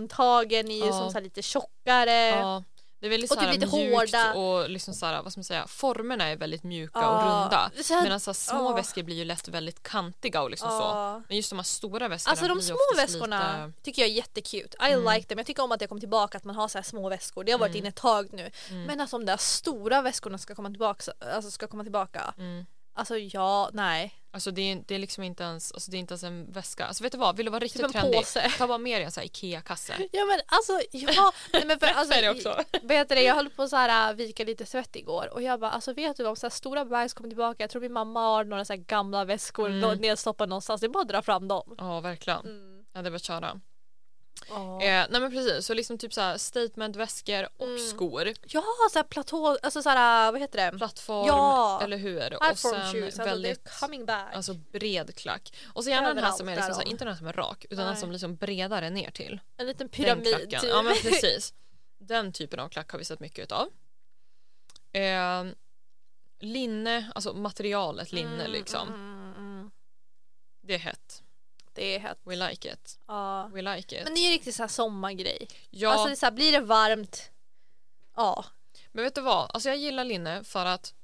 handtagen i Ja. som så här lite tjockare. ja. Det är väldigt Eh, Och typ såhär lite mjukt hårda. och liksom såhär, vad ska man säga, formerna är väldigt mjuka och Ja. runda. Så här- Medan så här små ja. väskor blir ju lätt väldigt kantiga och liksom Ja. så. Men just de här stora väskorna Alltså de blir ju små oftast väskorna Lite... tycker jag är jättecute. I like them. Jag tycker om att det kommer tillbaka att man har så här små väskor. Det har varit inne ett tag nu. Men att de där stora väskorna ska komma tillbaka, alltså ska komma tillbaka. Mm. Alltså ja, nej. Alltså det är, det är liksom inte ens, alltså det är inte ens en väska. Alltså vet du vad, vill du vara Typ riktigt en trendig? påse. Ta bara med dig en sån här IKEA-kasse. Ja men alltså ja, nej, men för, alltså, är det också. Vet du det, jag höll på så här äh, vika lite svett igår och jag bara alltså vet du de så här stora bags kommer tillbaka, jag tror min mamma har några så här gamla väskor Mm. nå- nedstoppade någonstans, det är bara att dra fram dem. Ja verkligen. Mm. Jag hade behövt köra. Ja. Eh, nej men precis, så liksom typ så här statementväskor och Mm. skor. Ja, så här platå, alltså så här, äh, vad heter det? Plattform, Ja. eller hur? Och Platform sen shoes, alltså väldigt they're coming back. alltså, bred klack. Och så gärna den här Överallt som är liksom, så här, därav. inte den som är rak utan den Nej. som liksom bredare ner till. en liten den pyramid klacken. typ. Ja men precis. Den typen av klack har vi sett mycket utav. Eh, linne, alltså materialet linne Mm, liksom. mm, mm. Det är hett. Det är hett. We like it. Ja. We like it. Men det är ju riktigt så här sommargrej. ja, Alltså det är så här, blir det varmt, ja. men vet du vad? Alltså jag gillar linne för att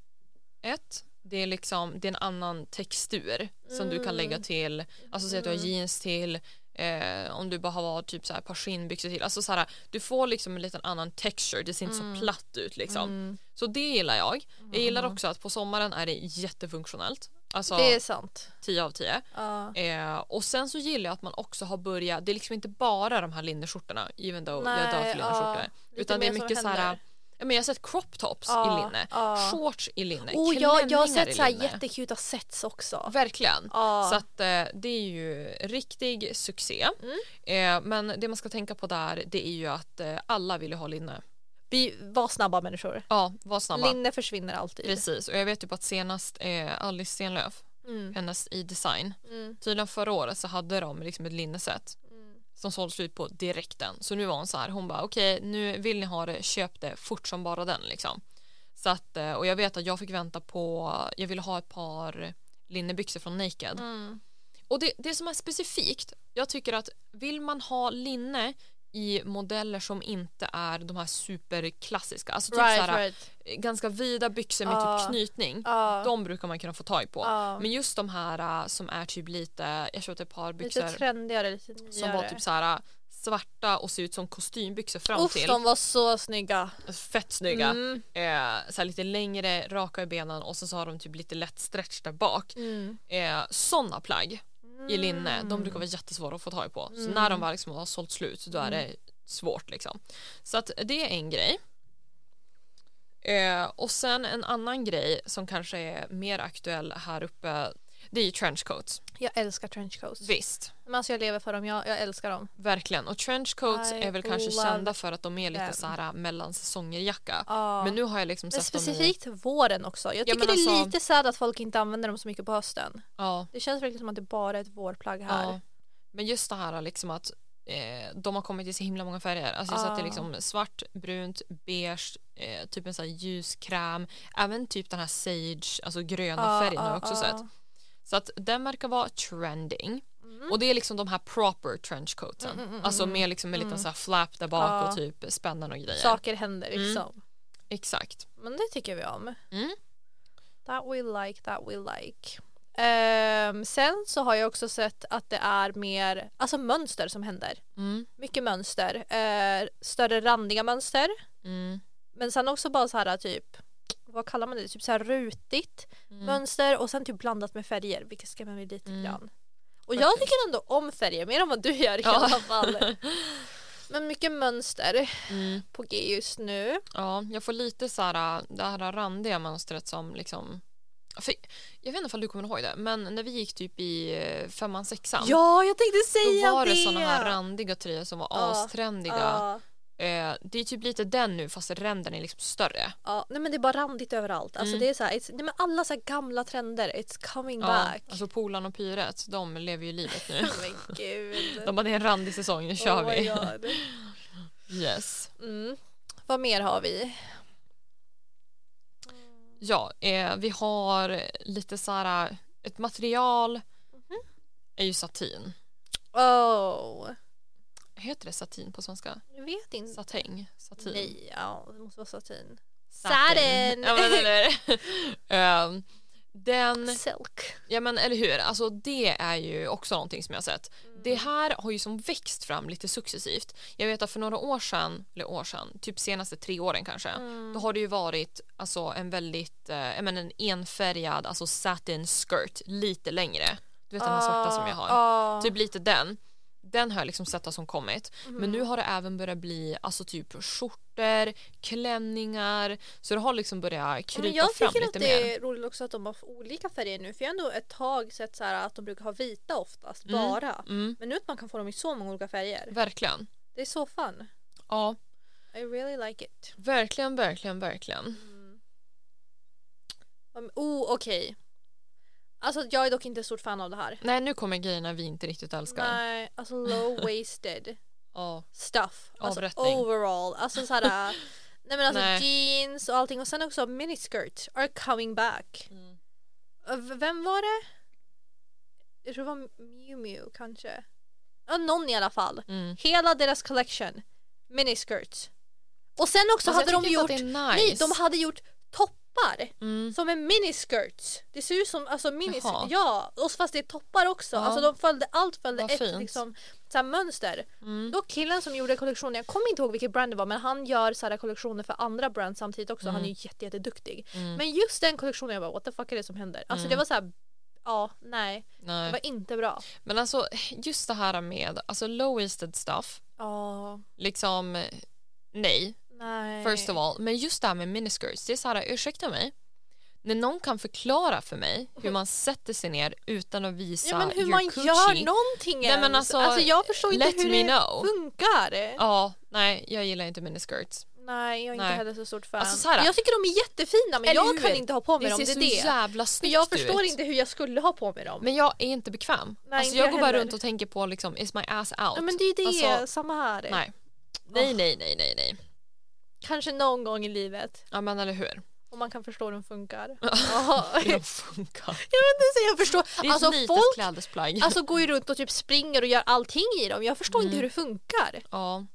ett, det är liksom det är en annan textur som du kan Mm. lägga till. Alltså säg att du har Mm. jeans till. Eh, om du bara har typ så här ett par skinnbyxor till. Alltså så här, du får liksom en liten annan texture. Det ser inte Mm. så platt ut liksom. Mm. Så det gillar jag. Jag gillar också att på sommaren är det jättefunktionellt. Alltså Det är sant. 10 av 10. Ja. Eh, och sen så gillar jag att man också har börjat, det är liksom inte bara de här linneskjortorna even though jag dör Nej, för linneskjortor. ja. Lite utan det är mer som mycket så här, händer. ja, men jag har sett crop tops Ja, i linne, ja. shorts i linne, Oh, jag, jag klänningar har i sett så här linne. jättekuta sets också. Verkligen. Ja. Så att eh, det är ju riktig succé. Mm. Eh, men det man ska tänka på där det är ju att eh, alla vill ju ha linne. Vi var snabba människor. Ja, var snabba. Linne försvinner alltid. Precis, och jag vet ju på att senast eh, Alice Stenlöf, Mm. hennes i design, Mm. tydligen förra året så hade de liksom ett linneset Mm. som sålde slut på direkten. Så nu var hon så här, hon bara okej nu vill ni ha det, köp det fort som bara den liksom. Så att, eh, och jag vet att jag fick vänta på, jag ville ha ett par linnebyxor från Naked. Mm. Och det, det som är specifikt, jag tycker att vill man ha linne i modeller som inte är de här superklassiska, alltså typ så Right, Ah. här, right. eh, ganska vida byxor med Ja. typ knytning, Ja. de brukar man kunna få tag på. Ja. Men just de här äh, som är typ lite, jag köpte ett par byxor Lite trendigare, lite nyare. som var typ så här äh, svarta och ser ut som kostymbyxor fram Uff, till. de var så snygga. Fett snygga. Mm. Eh, så här lite längre, raka i benen och sen så har de typ lite lätt stretch där bak. Mm. Eh, Sådana plagg i linne, de brukar vara jättesvåra att få tag på. Så när Mm. de väl liksom har sålt slut då är det svårt liksom. Så att det är en grej. Eh, och sen en annan grej som kanske är mer aktuell här uppe det är ju trenchcoats. Mm. Jag älskar trenchcoats. Visst, Men alltså jag lever för dem, jag, jag älskar dem. verkligen. Och trenchcoats I är väl kanske love kända för att de är lite them. så här mellan säsongerjacka. Ja. Men nu har jag liksom Ah. Men sett dem i... specifikt våren också. Jag Ja, tycker men det är alltså- lite sad att folk inte använder dem så mycket på hösten. Ja, Det känns verkligen som att det bara är ett vårplagg här. ja. Men just det här liksom att eh, de har kommit i så himla många färger. Alltså jag Ja. har sett det liksom svart, brunt, beige, eh, typ en sån här ljuskräm. Även typ den här sage, alltså gröna Ja, färgen har ja, jag också ja. sett. Så att den verkar vara trending. Mm. Och det är liksom de här proper trenchcoaten. alltså med liksom en liten så här flap där bak Ja. och typ spännen och grejer. Saker händer liksom. Exakt. Men det tycker vi om. Mm. That we like, that we like. Ehm, sen så har jag också sett att det är mer alltså mönster som händer. Mm. Mycket mönster. Eh, större randiga mönster. Mm. Men sen också bara så här typ vad kallar man det? Typ så här rutigt mönster och sen typ blandat med färger vilket skrämmer mig lite Mm. grann. Och jag Faktiskt. tycker ändå om färger mer än vad du gör i Ja. alla fall. Men mycket mönster Mm. på G just nu. Ja, jag får lite så här, äh, det här randiga mönstret som liksom... För, jag vet inte om du kommer ihåg det, men när vi gick typ i eh, femman, sexan Ja, jag tänkte säga då var det, det! såna här randiga tröjor som var Ja, astrendiga. Ja. Eh, det är typ lite den nu fast ränderna är liksom större. Ja, nej men det är bara randigt överallt. Alltså Mm. det är så här, it's, nej men alla så här gamla trender, it's coming back. alltså Polan och Pyret, de lever ju livet nu. Men gud. De bara det är en randig säsong, nu kör Oh my vi. God. Yes. Mm. Vad mer har vi? Ja, eh, vi har lite så här, äh, ett material Mhm. är ju satin. Oh, Heter det satin på svenska? jag vet inte. Satäng? Satin? Nej, ja, det måste vara satin. Satin. Satin! Ja, men, eller, Ehm, Den, Silk. ja men eller hur, alltså det är ju också någonting som jag har sett. Mm. Det här har ju som växt fram lite successivt. Jag vet att för några år sedan, eller år sedan, typ senaste tre åren kanske, Mm. då har det ju varit alltså en väldigt, eh, jag menar en enfärgad, alltså satin skirt lite längre. Du vet den här svarta som jag har. Ah, ah. Typ lite den. Den har jag liksom sett som kommit. Mm. Men nu har det även börjat bli alltså typ skjortor, klänningar. Så det har liksom börjat Men krypa jag fram tycker att lite det mer. är roligt också att de har olika färger nu för jag har ändå ett tag sett så här att de brukar ha vita oftast, Mm. bara. Mm, Men nu att man kan få dem i så många olika färger. verkligen. Det är så fun. Ja, I really like it. verkligen, verkligen, verkligen. Um, Oh, okej. Alltså jag är dock inte ett stort fan av det här. Nej, nu kommer grejerna vi inte riktigt älskar. Nej, alltså low-waisted Ja, stuff. Alltså Avrättning. overall. Alltså såhär, nej men alltså Nej. jeans och allting och sen också miniskirt are coming back. Mm. Uh, v- Vem var det? Jag tror det var Miu Miu kanske. Ja, någon i alla fall. Mm. Hela deras collection, miniskirts. Och sen Alltså, också jag hade de tycker gjort, inte att det är nice. nej de hade gjort toppar. Mm. Som en miniskirts. Det ser ut som alltså minis Jaha. Ja, och fast det är toppar också. Ja. Alltså de följde, allt följde Vad ett fint. liksom, så här mönster. Mm. Då killen som gjorde kollektionen, jag kommer inte ihåg vilket brand det var men han gör så här kollektioner för andra brand samtidigt också. Han är ju jätte, jätteduktig. Mm. Men just den kollektionen, jag bara what the fuck är det som händer? Alltså det var så här, ja, nej. Det Nej. var inte bra. Men alltså just det här med alltså low-waisted stuff, Ja, liksom eh, nej. nej. First of all, men just det här med miniskirts, det är så här, ursäkta mig. När någon kan förklara för mig hur man sätter sig ner utan att visa Ja men hur your man coochie. gör någonting Nej, men ens. alltså, jag förstår inte let hur me det know. funkar. Ja, nej, jag gillar inte miniskirts. Nej, jag är inte Nej. heller så stort fan. Alltså, så här- jag tycker de är jättefina men Eller jag hur? kan inte ha på mig Det ser dem. Det så är det. jävla För snyggt jag förstår ut. inte hur jag skulle ha på mig dem. Men jag är inte bekväm. Nej, alltså, inte jag jag går bara heller. runt och tänker på liksom, is my ass out? ja, men det är ju det, Alltså, samma här. nej. nej, nej, nej, nej, nej. Kanske någon gång i livet Ja men eller hur. om man kan förstå hur de funkar. Ja. jag vet Hur inte, de funkar. så jag förstår. Det är Alltså ett litet folk klädesplagg. alltså, går ju runt och typ springer och gör allting i dem. Jag förstår inte hur det funkar. ja.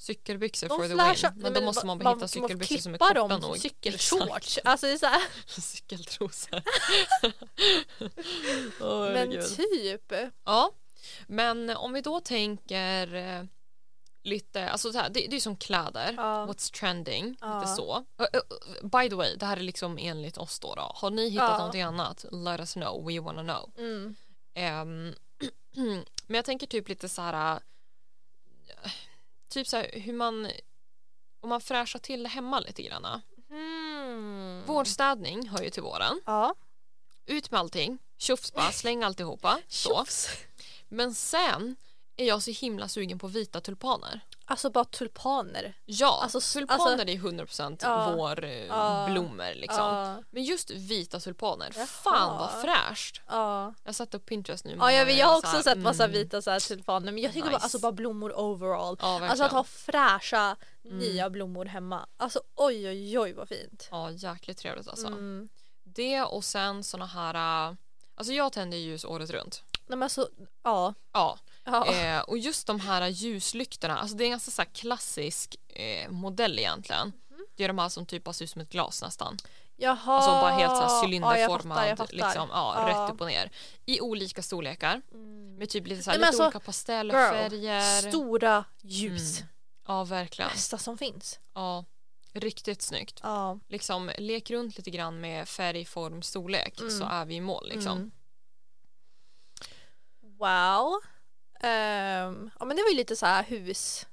Cykelbyxor De for Mm. the win. flashar- Men, Nej, då måste va- man bara hitta måste cykelbyxor som är klippa korta dem nog. Cykelshorts. Alltså det är så här. Cykeltrosor. Åh, Men herregud. typ. Ja, men om vi då tänker eh, lite, alltså så här, det, det är som kläder, Ja. what's trending, Ja. lite så. Ö, ö, by the way, det här är liksom enligt oss då. då. Har ni hittat Ja. någonting annat, let us know, we wanna know. Mm. Ehm, men jag tänker typ lite så här, eh, typ så här hur man, om man fräschar till det hemma lite grann. Mm. Vårstädning hör ju till våren, Ja. ut med allting, tjofs bara, släng alltihopa. Så. Tjofs. Men sen är jag så himla sugen på vita tulpaner. Alltså bara tulpaner. Ja, Alltså, s- tulpaner alltså- är ju 100% Ja. vår eh, Ja. blommor liksom. Ja. Men just vita tulpaner, Jaha. fan vad fräscht. Ja. Jag satt på Pinterest nu. Ja, jag, vet, jag har Så också här, sett massa mm. vita så här tulpaner men jag tycker bara, Nice. alltså bara blommor overall. Ja, verkligen. Mm. alltså att ha fräscha nya blommor hemma. Alltså oj oj oj vad fint. Ja, jäkligt trevligt alltså. Mm. Det och sen såna här, eh, alltså jag tänder ljus året runt. Nej men alltså, ja. Ja, ja. eh, och just de här ljuslyktorna, alltså det är en ganska så här klassisk eh, modell egentligen. Mhm. Det är de här som typ bara ser ut som ett glas nästan. Jaha. Alltså bara helt så här Ah, Ja, jag cylinderformad, fattar, jag fattar. Ah. liksom, ja, Ja. rätt upp och ner. I olika storlekar, med typ lite, så här, Nej, lite men alltså, olika pastellfärger. Stora ljus. Mm. ja, verkligen. Bästa som finns. Ja, riktigt snyggt. Ja. Liksom, lek runt lite grann med färg, form, storlek så är vi i mål. Liksom. Mm. Wow. Ehm, ja men det var ju lite så här hus.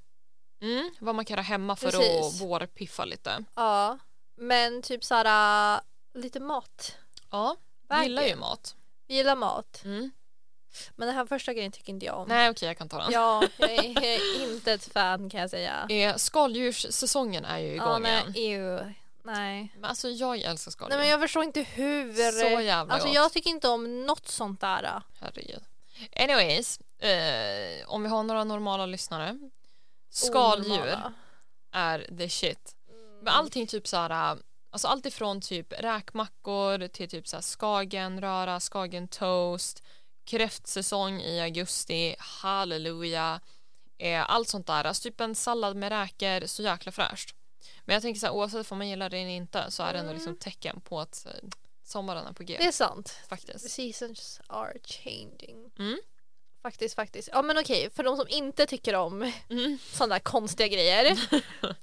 Mm, vad man kan göra hemma för Precis. att vårpiffa lite. Ja. Men typ så här äh, lite mat. Ja, Verkligen. gillar ju mat. Vi gillar mat. Mm. Men den här första grejen tycker inte jag om. Nej, okej, jag kan ta den. Ja, jag är, jag är inte ett fan kan jag säga. Eh, skaldjurssäsongen är ju igång Ja, nej, igen. ew. Nej. Men alltså, jag älskar skaldjur. nej men jag förstår inte hur. Så jävla alltså gott. jag tycker inte om något sånt där. äh, Herregud. Anyways, eh, om vi har några normala lyssnare. Skaldjur Onormala. är the shit. Mm. Men allting typ så här, alltså allt ifrån typ räkmackor till typ så här skagenröra, skagentoast, kräftsäsong i augusti, halleluja, eh, allt sånt där. Alltså typ en sallad med räkor, så jäkla fräscht. Men jag tänker så här, oavsett om man gillar det eller inte så är det ändå liksom tecken på att eh, sommaren är på Mm. Det G är sant. The faktiskt. seasons are changing. Mm. Faktiskt, faktiskt. Ja men okej, för de som inte tycker om Mm. sådana där konstiga grejer.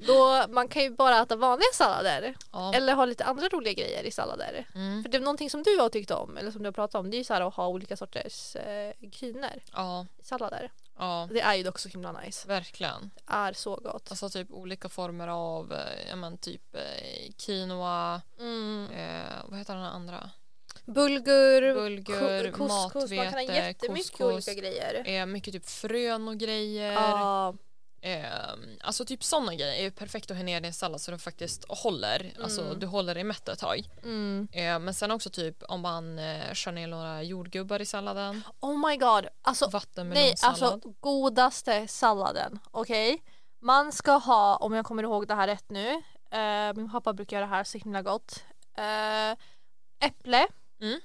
då man kan ju bara äta vanliga sallader. Ja. Eller ha lite andra roliga grejer i sallader. Mm. För det är någonting som du har tyckt om, eller som du har pratat om, det är ju så här att ha olika sorters eh, grynor ja, i sallader. ja, Det är ju dock så himla nice. verkligen. Det är så gott. Alltså typ olika former av eh, ja, men, typ eh, quinoa, Mm. eh, vad heter den andra? Bulgur, Bulgur, ko- couscous, man kan ha matvete, jättemycket couscous. olika grejer. Eh, mycket typ frön och grejer. Ja, Eh, alltså typ sådana grejer är ju perfekt att ha ner i en sallad så den faktiskt håller. Alltså Mm. du håller dig mätt ett tag. mm. Eh, men sen också typ om man eh, kör ner några jordgubbar i salladen. Oh my god, alltså Nej, Vattenmelonsallad. alltså godaste salladen. Okej? Man ska ha, om jag kommer ihåg det här rätt nu, eh, min pappa brukar göra det här så himla gott. Eh, äpple, Mm.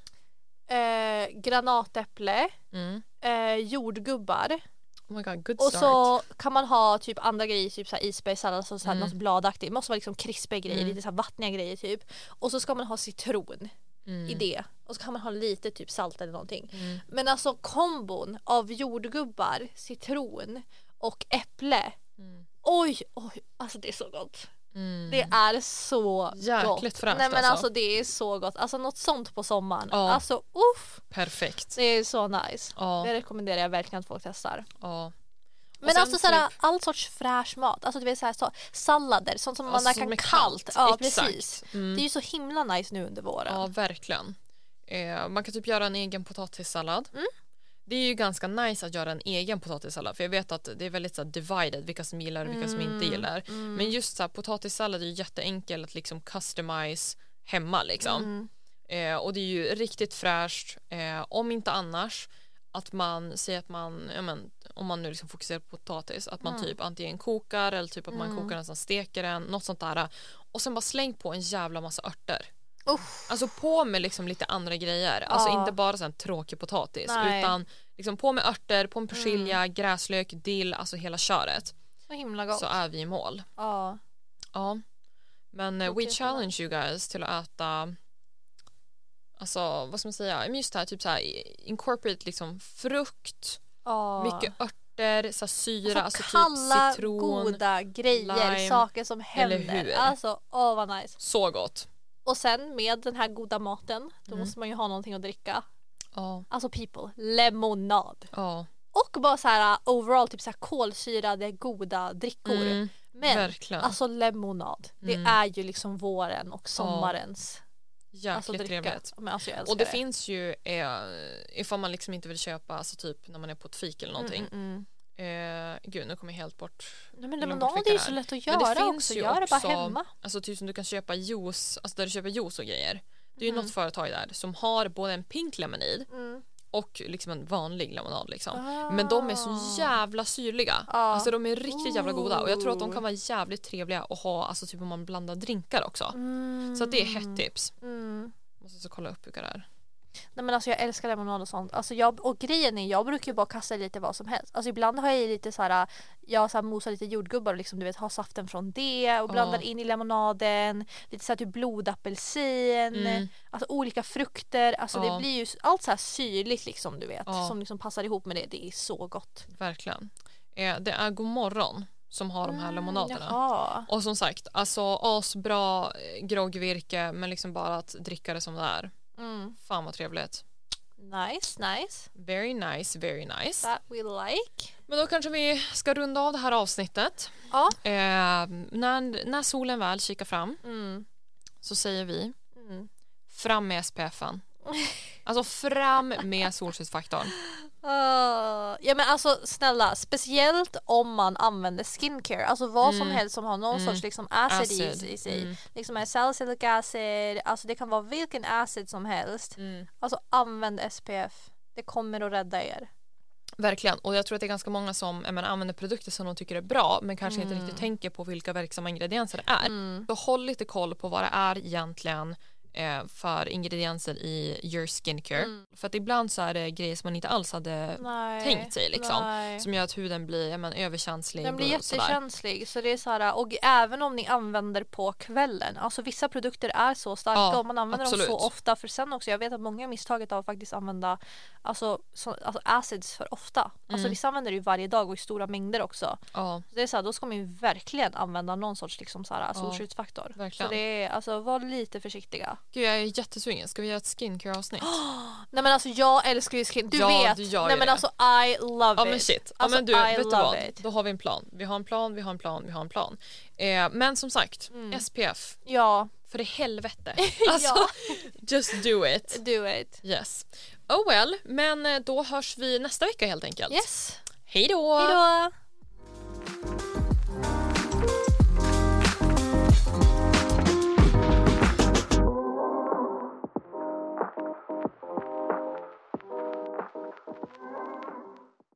eh, granatäpple, Mm. eh, jordgubbar Oh my god, good och start. så kan man ha typ andra grejer, typ så här isbergssallad, så så här Mm. något bladaktigt. Det måste vara liksom krispiga grejer, Mm. lite så här vattniga grejer typ. Och så ska man ha citron mm. i det och så kan man ha lite typ salt eller någonting. Mm. Men alltså kombon av jordgubbar, citron och äpple. Mm. Oj, oj, alltså det är så gott. Mm. Det är så gott. Jäkligt fräscht Nej men alltså. alltså. det är så gott. Alltså något sånt på sommaren. Ja. Alltså uff, Perfekt. det är så nice. Det Ja, rekommenderar jag verkligen att folk testar. ja. Men sen typ- alltså såhär, all sorts fräsch mat, alltså du vet såhär, så, sallader, sånt som Alltså, man som är kan kallt. kallt. Ja Exakt. precis. Mm. Det är ju så himla nice nu under våren. Ja, verkligen. Eh, man kan typ göra en egen potatissallad. Det är ju ganska nice att göra en egen potatissallad för jag vet att det är väldigt så här, divided vilka som gillar och vilka som inte gillar. Men just så här, potatissallad är ju jätteenkel att liksom customize hemma liksom. Eh, och det är ju riktigt fräscht eh, om inte annars att man säger att man, ja, men, om man nu liksom fokuserar på potatis, att man typ antingen kokar eller typ att man Mm. kokar den sen steker den, något sånt där. Och sen bara släng på en jävla massa örter. Uff. Alltså på med liksom lite andra grejer. Alltså Ja. inte bara sån tråkig potatis Nej. Mm. utan liksom på med örter, på med persilja, gräslök, dill, alltså hela köret så himla gott. så är vi i mål. Ja. Ja. Men eh, Okej, we så challenge you guys till att äta Alltså vad ska man säga, men just det här typ så här incorporate liksom frukt, Ja. mycket örter, så här syra, alltså, kalla typ citron. goda grejer, lime, saker som eller händer. hur? Alltså, åh vad nice. Så gott. Och sen med den här goda maten, då Mm. måste man ju ha någonting att dricka. Ja, Alltså people, lemonad. ja. Och bara så här overall typ så här kolsyrade goda drickor. Mm, Men verkligen. alltså lemonad, Mm. det är ju liksom våren och sommarens alltså, Jäkligt dricka. trevligt. Men alltså jag älskar Och det finns ju eh, ifall man liksom inte vill köpa alltså typ när man är på ett fik eller någonting. Mm, mm, mm. Eh, gud nu kommer jag helt bort. Nej, men glömde lemonad bort är ju vilka så det är. lätt att Men det göra finns också. ju Gör det bara också- hemma. Alltså typ som du kan köpa juice, alltså där du köper juice och grejer. Det är ju något företag där som har både en pink lemonade Mm. och liksom en vanlig lemonad liksom. Men de är så jävla syrliga. Ah. Alltså de är riktigt jävla goda och jag tror att de Ooh. kan vara jävligt trevliga att ha alltså typ om man blandar drinkar också. Mm. Så att det är hett tips. Mm. Måste så kolla upp vilka det är. Nej men alltså jag älskar lemonad och sånt. Alltså jag, och grejen är jag brukar ju bara kasta i lite vad som helst. Alltså ibland har jag i lite så här, jag så här mosar lite jordgubbar och liksom du vet har saften från det och Ja. blandar in i lemonaden. Lite så här typ blodapelsin. Mm. Alltså olika frukter. Alltså Ja. det blir ju s- allt så här syrligt liksom du vet. Ja. Som liksom passar ihop med det. Det är så gott. Verkligen. Eh, det är Godmorgon som har de här lemonaderna. Mm, Jaha. Och som sagt, alltså asbra eh, groggvirke men liksom bara att dricka det som det är. Mm. Fan vad trevligt. Nice, nice. Very nice, very nice. That we like. Men då kanske vi ska runda av det här avsnittet. Ja. Eh, när, när solen väl kikar fram Mm. så säger vi Mm. fram med SPFen. Alltså fram med solskyddsfaktorn. Ah, ja men alltså snälla, speciellt om man använder skincare, alltså vad som Mm. helst som har någon Mm. sorts liksom acid, Acid. i, i sig. Mm. Liksom är salicylic acid, alltså det kan vara vilken acid som helst. Mm. Alltså använd SPF, det kommer att rädda er. Verkligen. Och jag tror att det är ganska många som jag menar, använder produkter som de tycker är bra men kanske Mm. inte riktigt tänker på vilka verksamma ingredienser det är. Så håll lite koll på vad det är egentligen eh, för ingredienser i your skincare. Mm. För att ibland så är det grejer som man inte alls hade Nej, tänkt sig, liksom. Nej. som gör att huden blir ja, men, överkänslig. Den blir och sådär. jättekänslig så det är så här, och även om ni använder på kvällen, alltså vissa produkter är så starka Ja, och man använder dem absolut. så ofta för sen också, jag vet att många misstaget av att faktiskt använda alltså, så, alltså acids för ofta. Alltså Mm. vissa använder det ju varje dag och i stora mängder också. Ja, Så det är så här, då ska man ju verkligen använda någon sorts liksom så här, solskyddsfaktor. verkligen. så det är, alltså var lite försiktiga. Gud, jag är jättesugen. Ska vi göra ett skincare-avsnitt? Nej men alltså jag älskar ju skin, du Ja, vet! du gör ju Nej men det. alltså I love Ja it! men shit. Ja, Alltså, men du, I vet du love vad? it. Då har vi en plan. Vi har en plan, vi har en plan, vi har en plan. Eh, men som sagt, Mm. SPF. Ja, För i helvete. Alltså, just do it. do it! Yes. Oh well, men eh, då hörs vi nästa vecka helt enkelt. Yes! Hej då! Hejdå!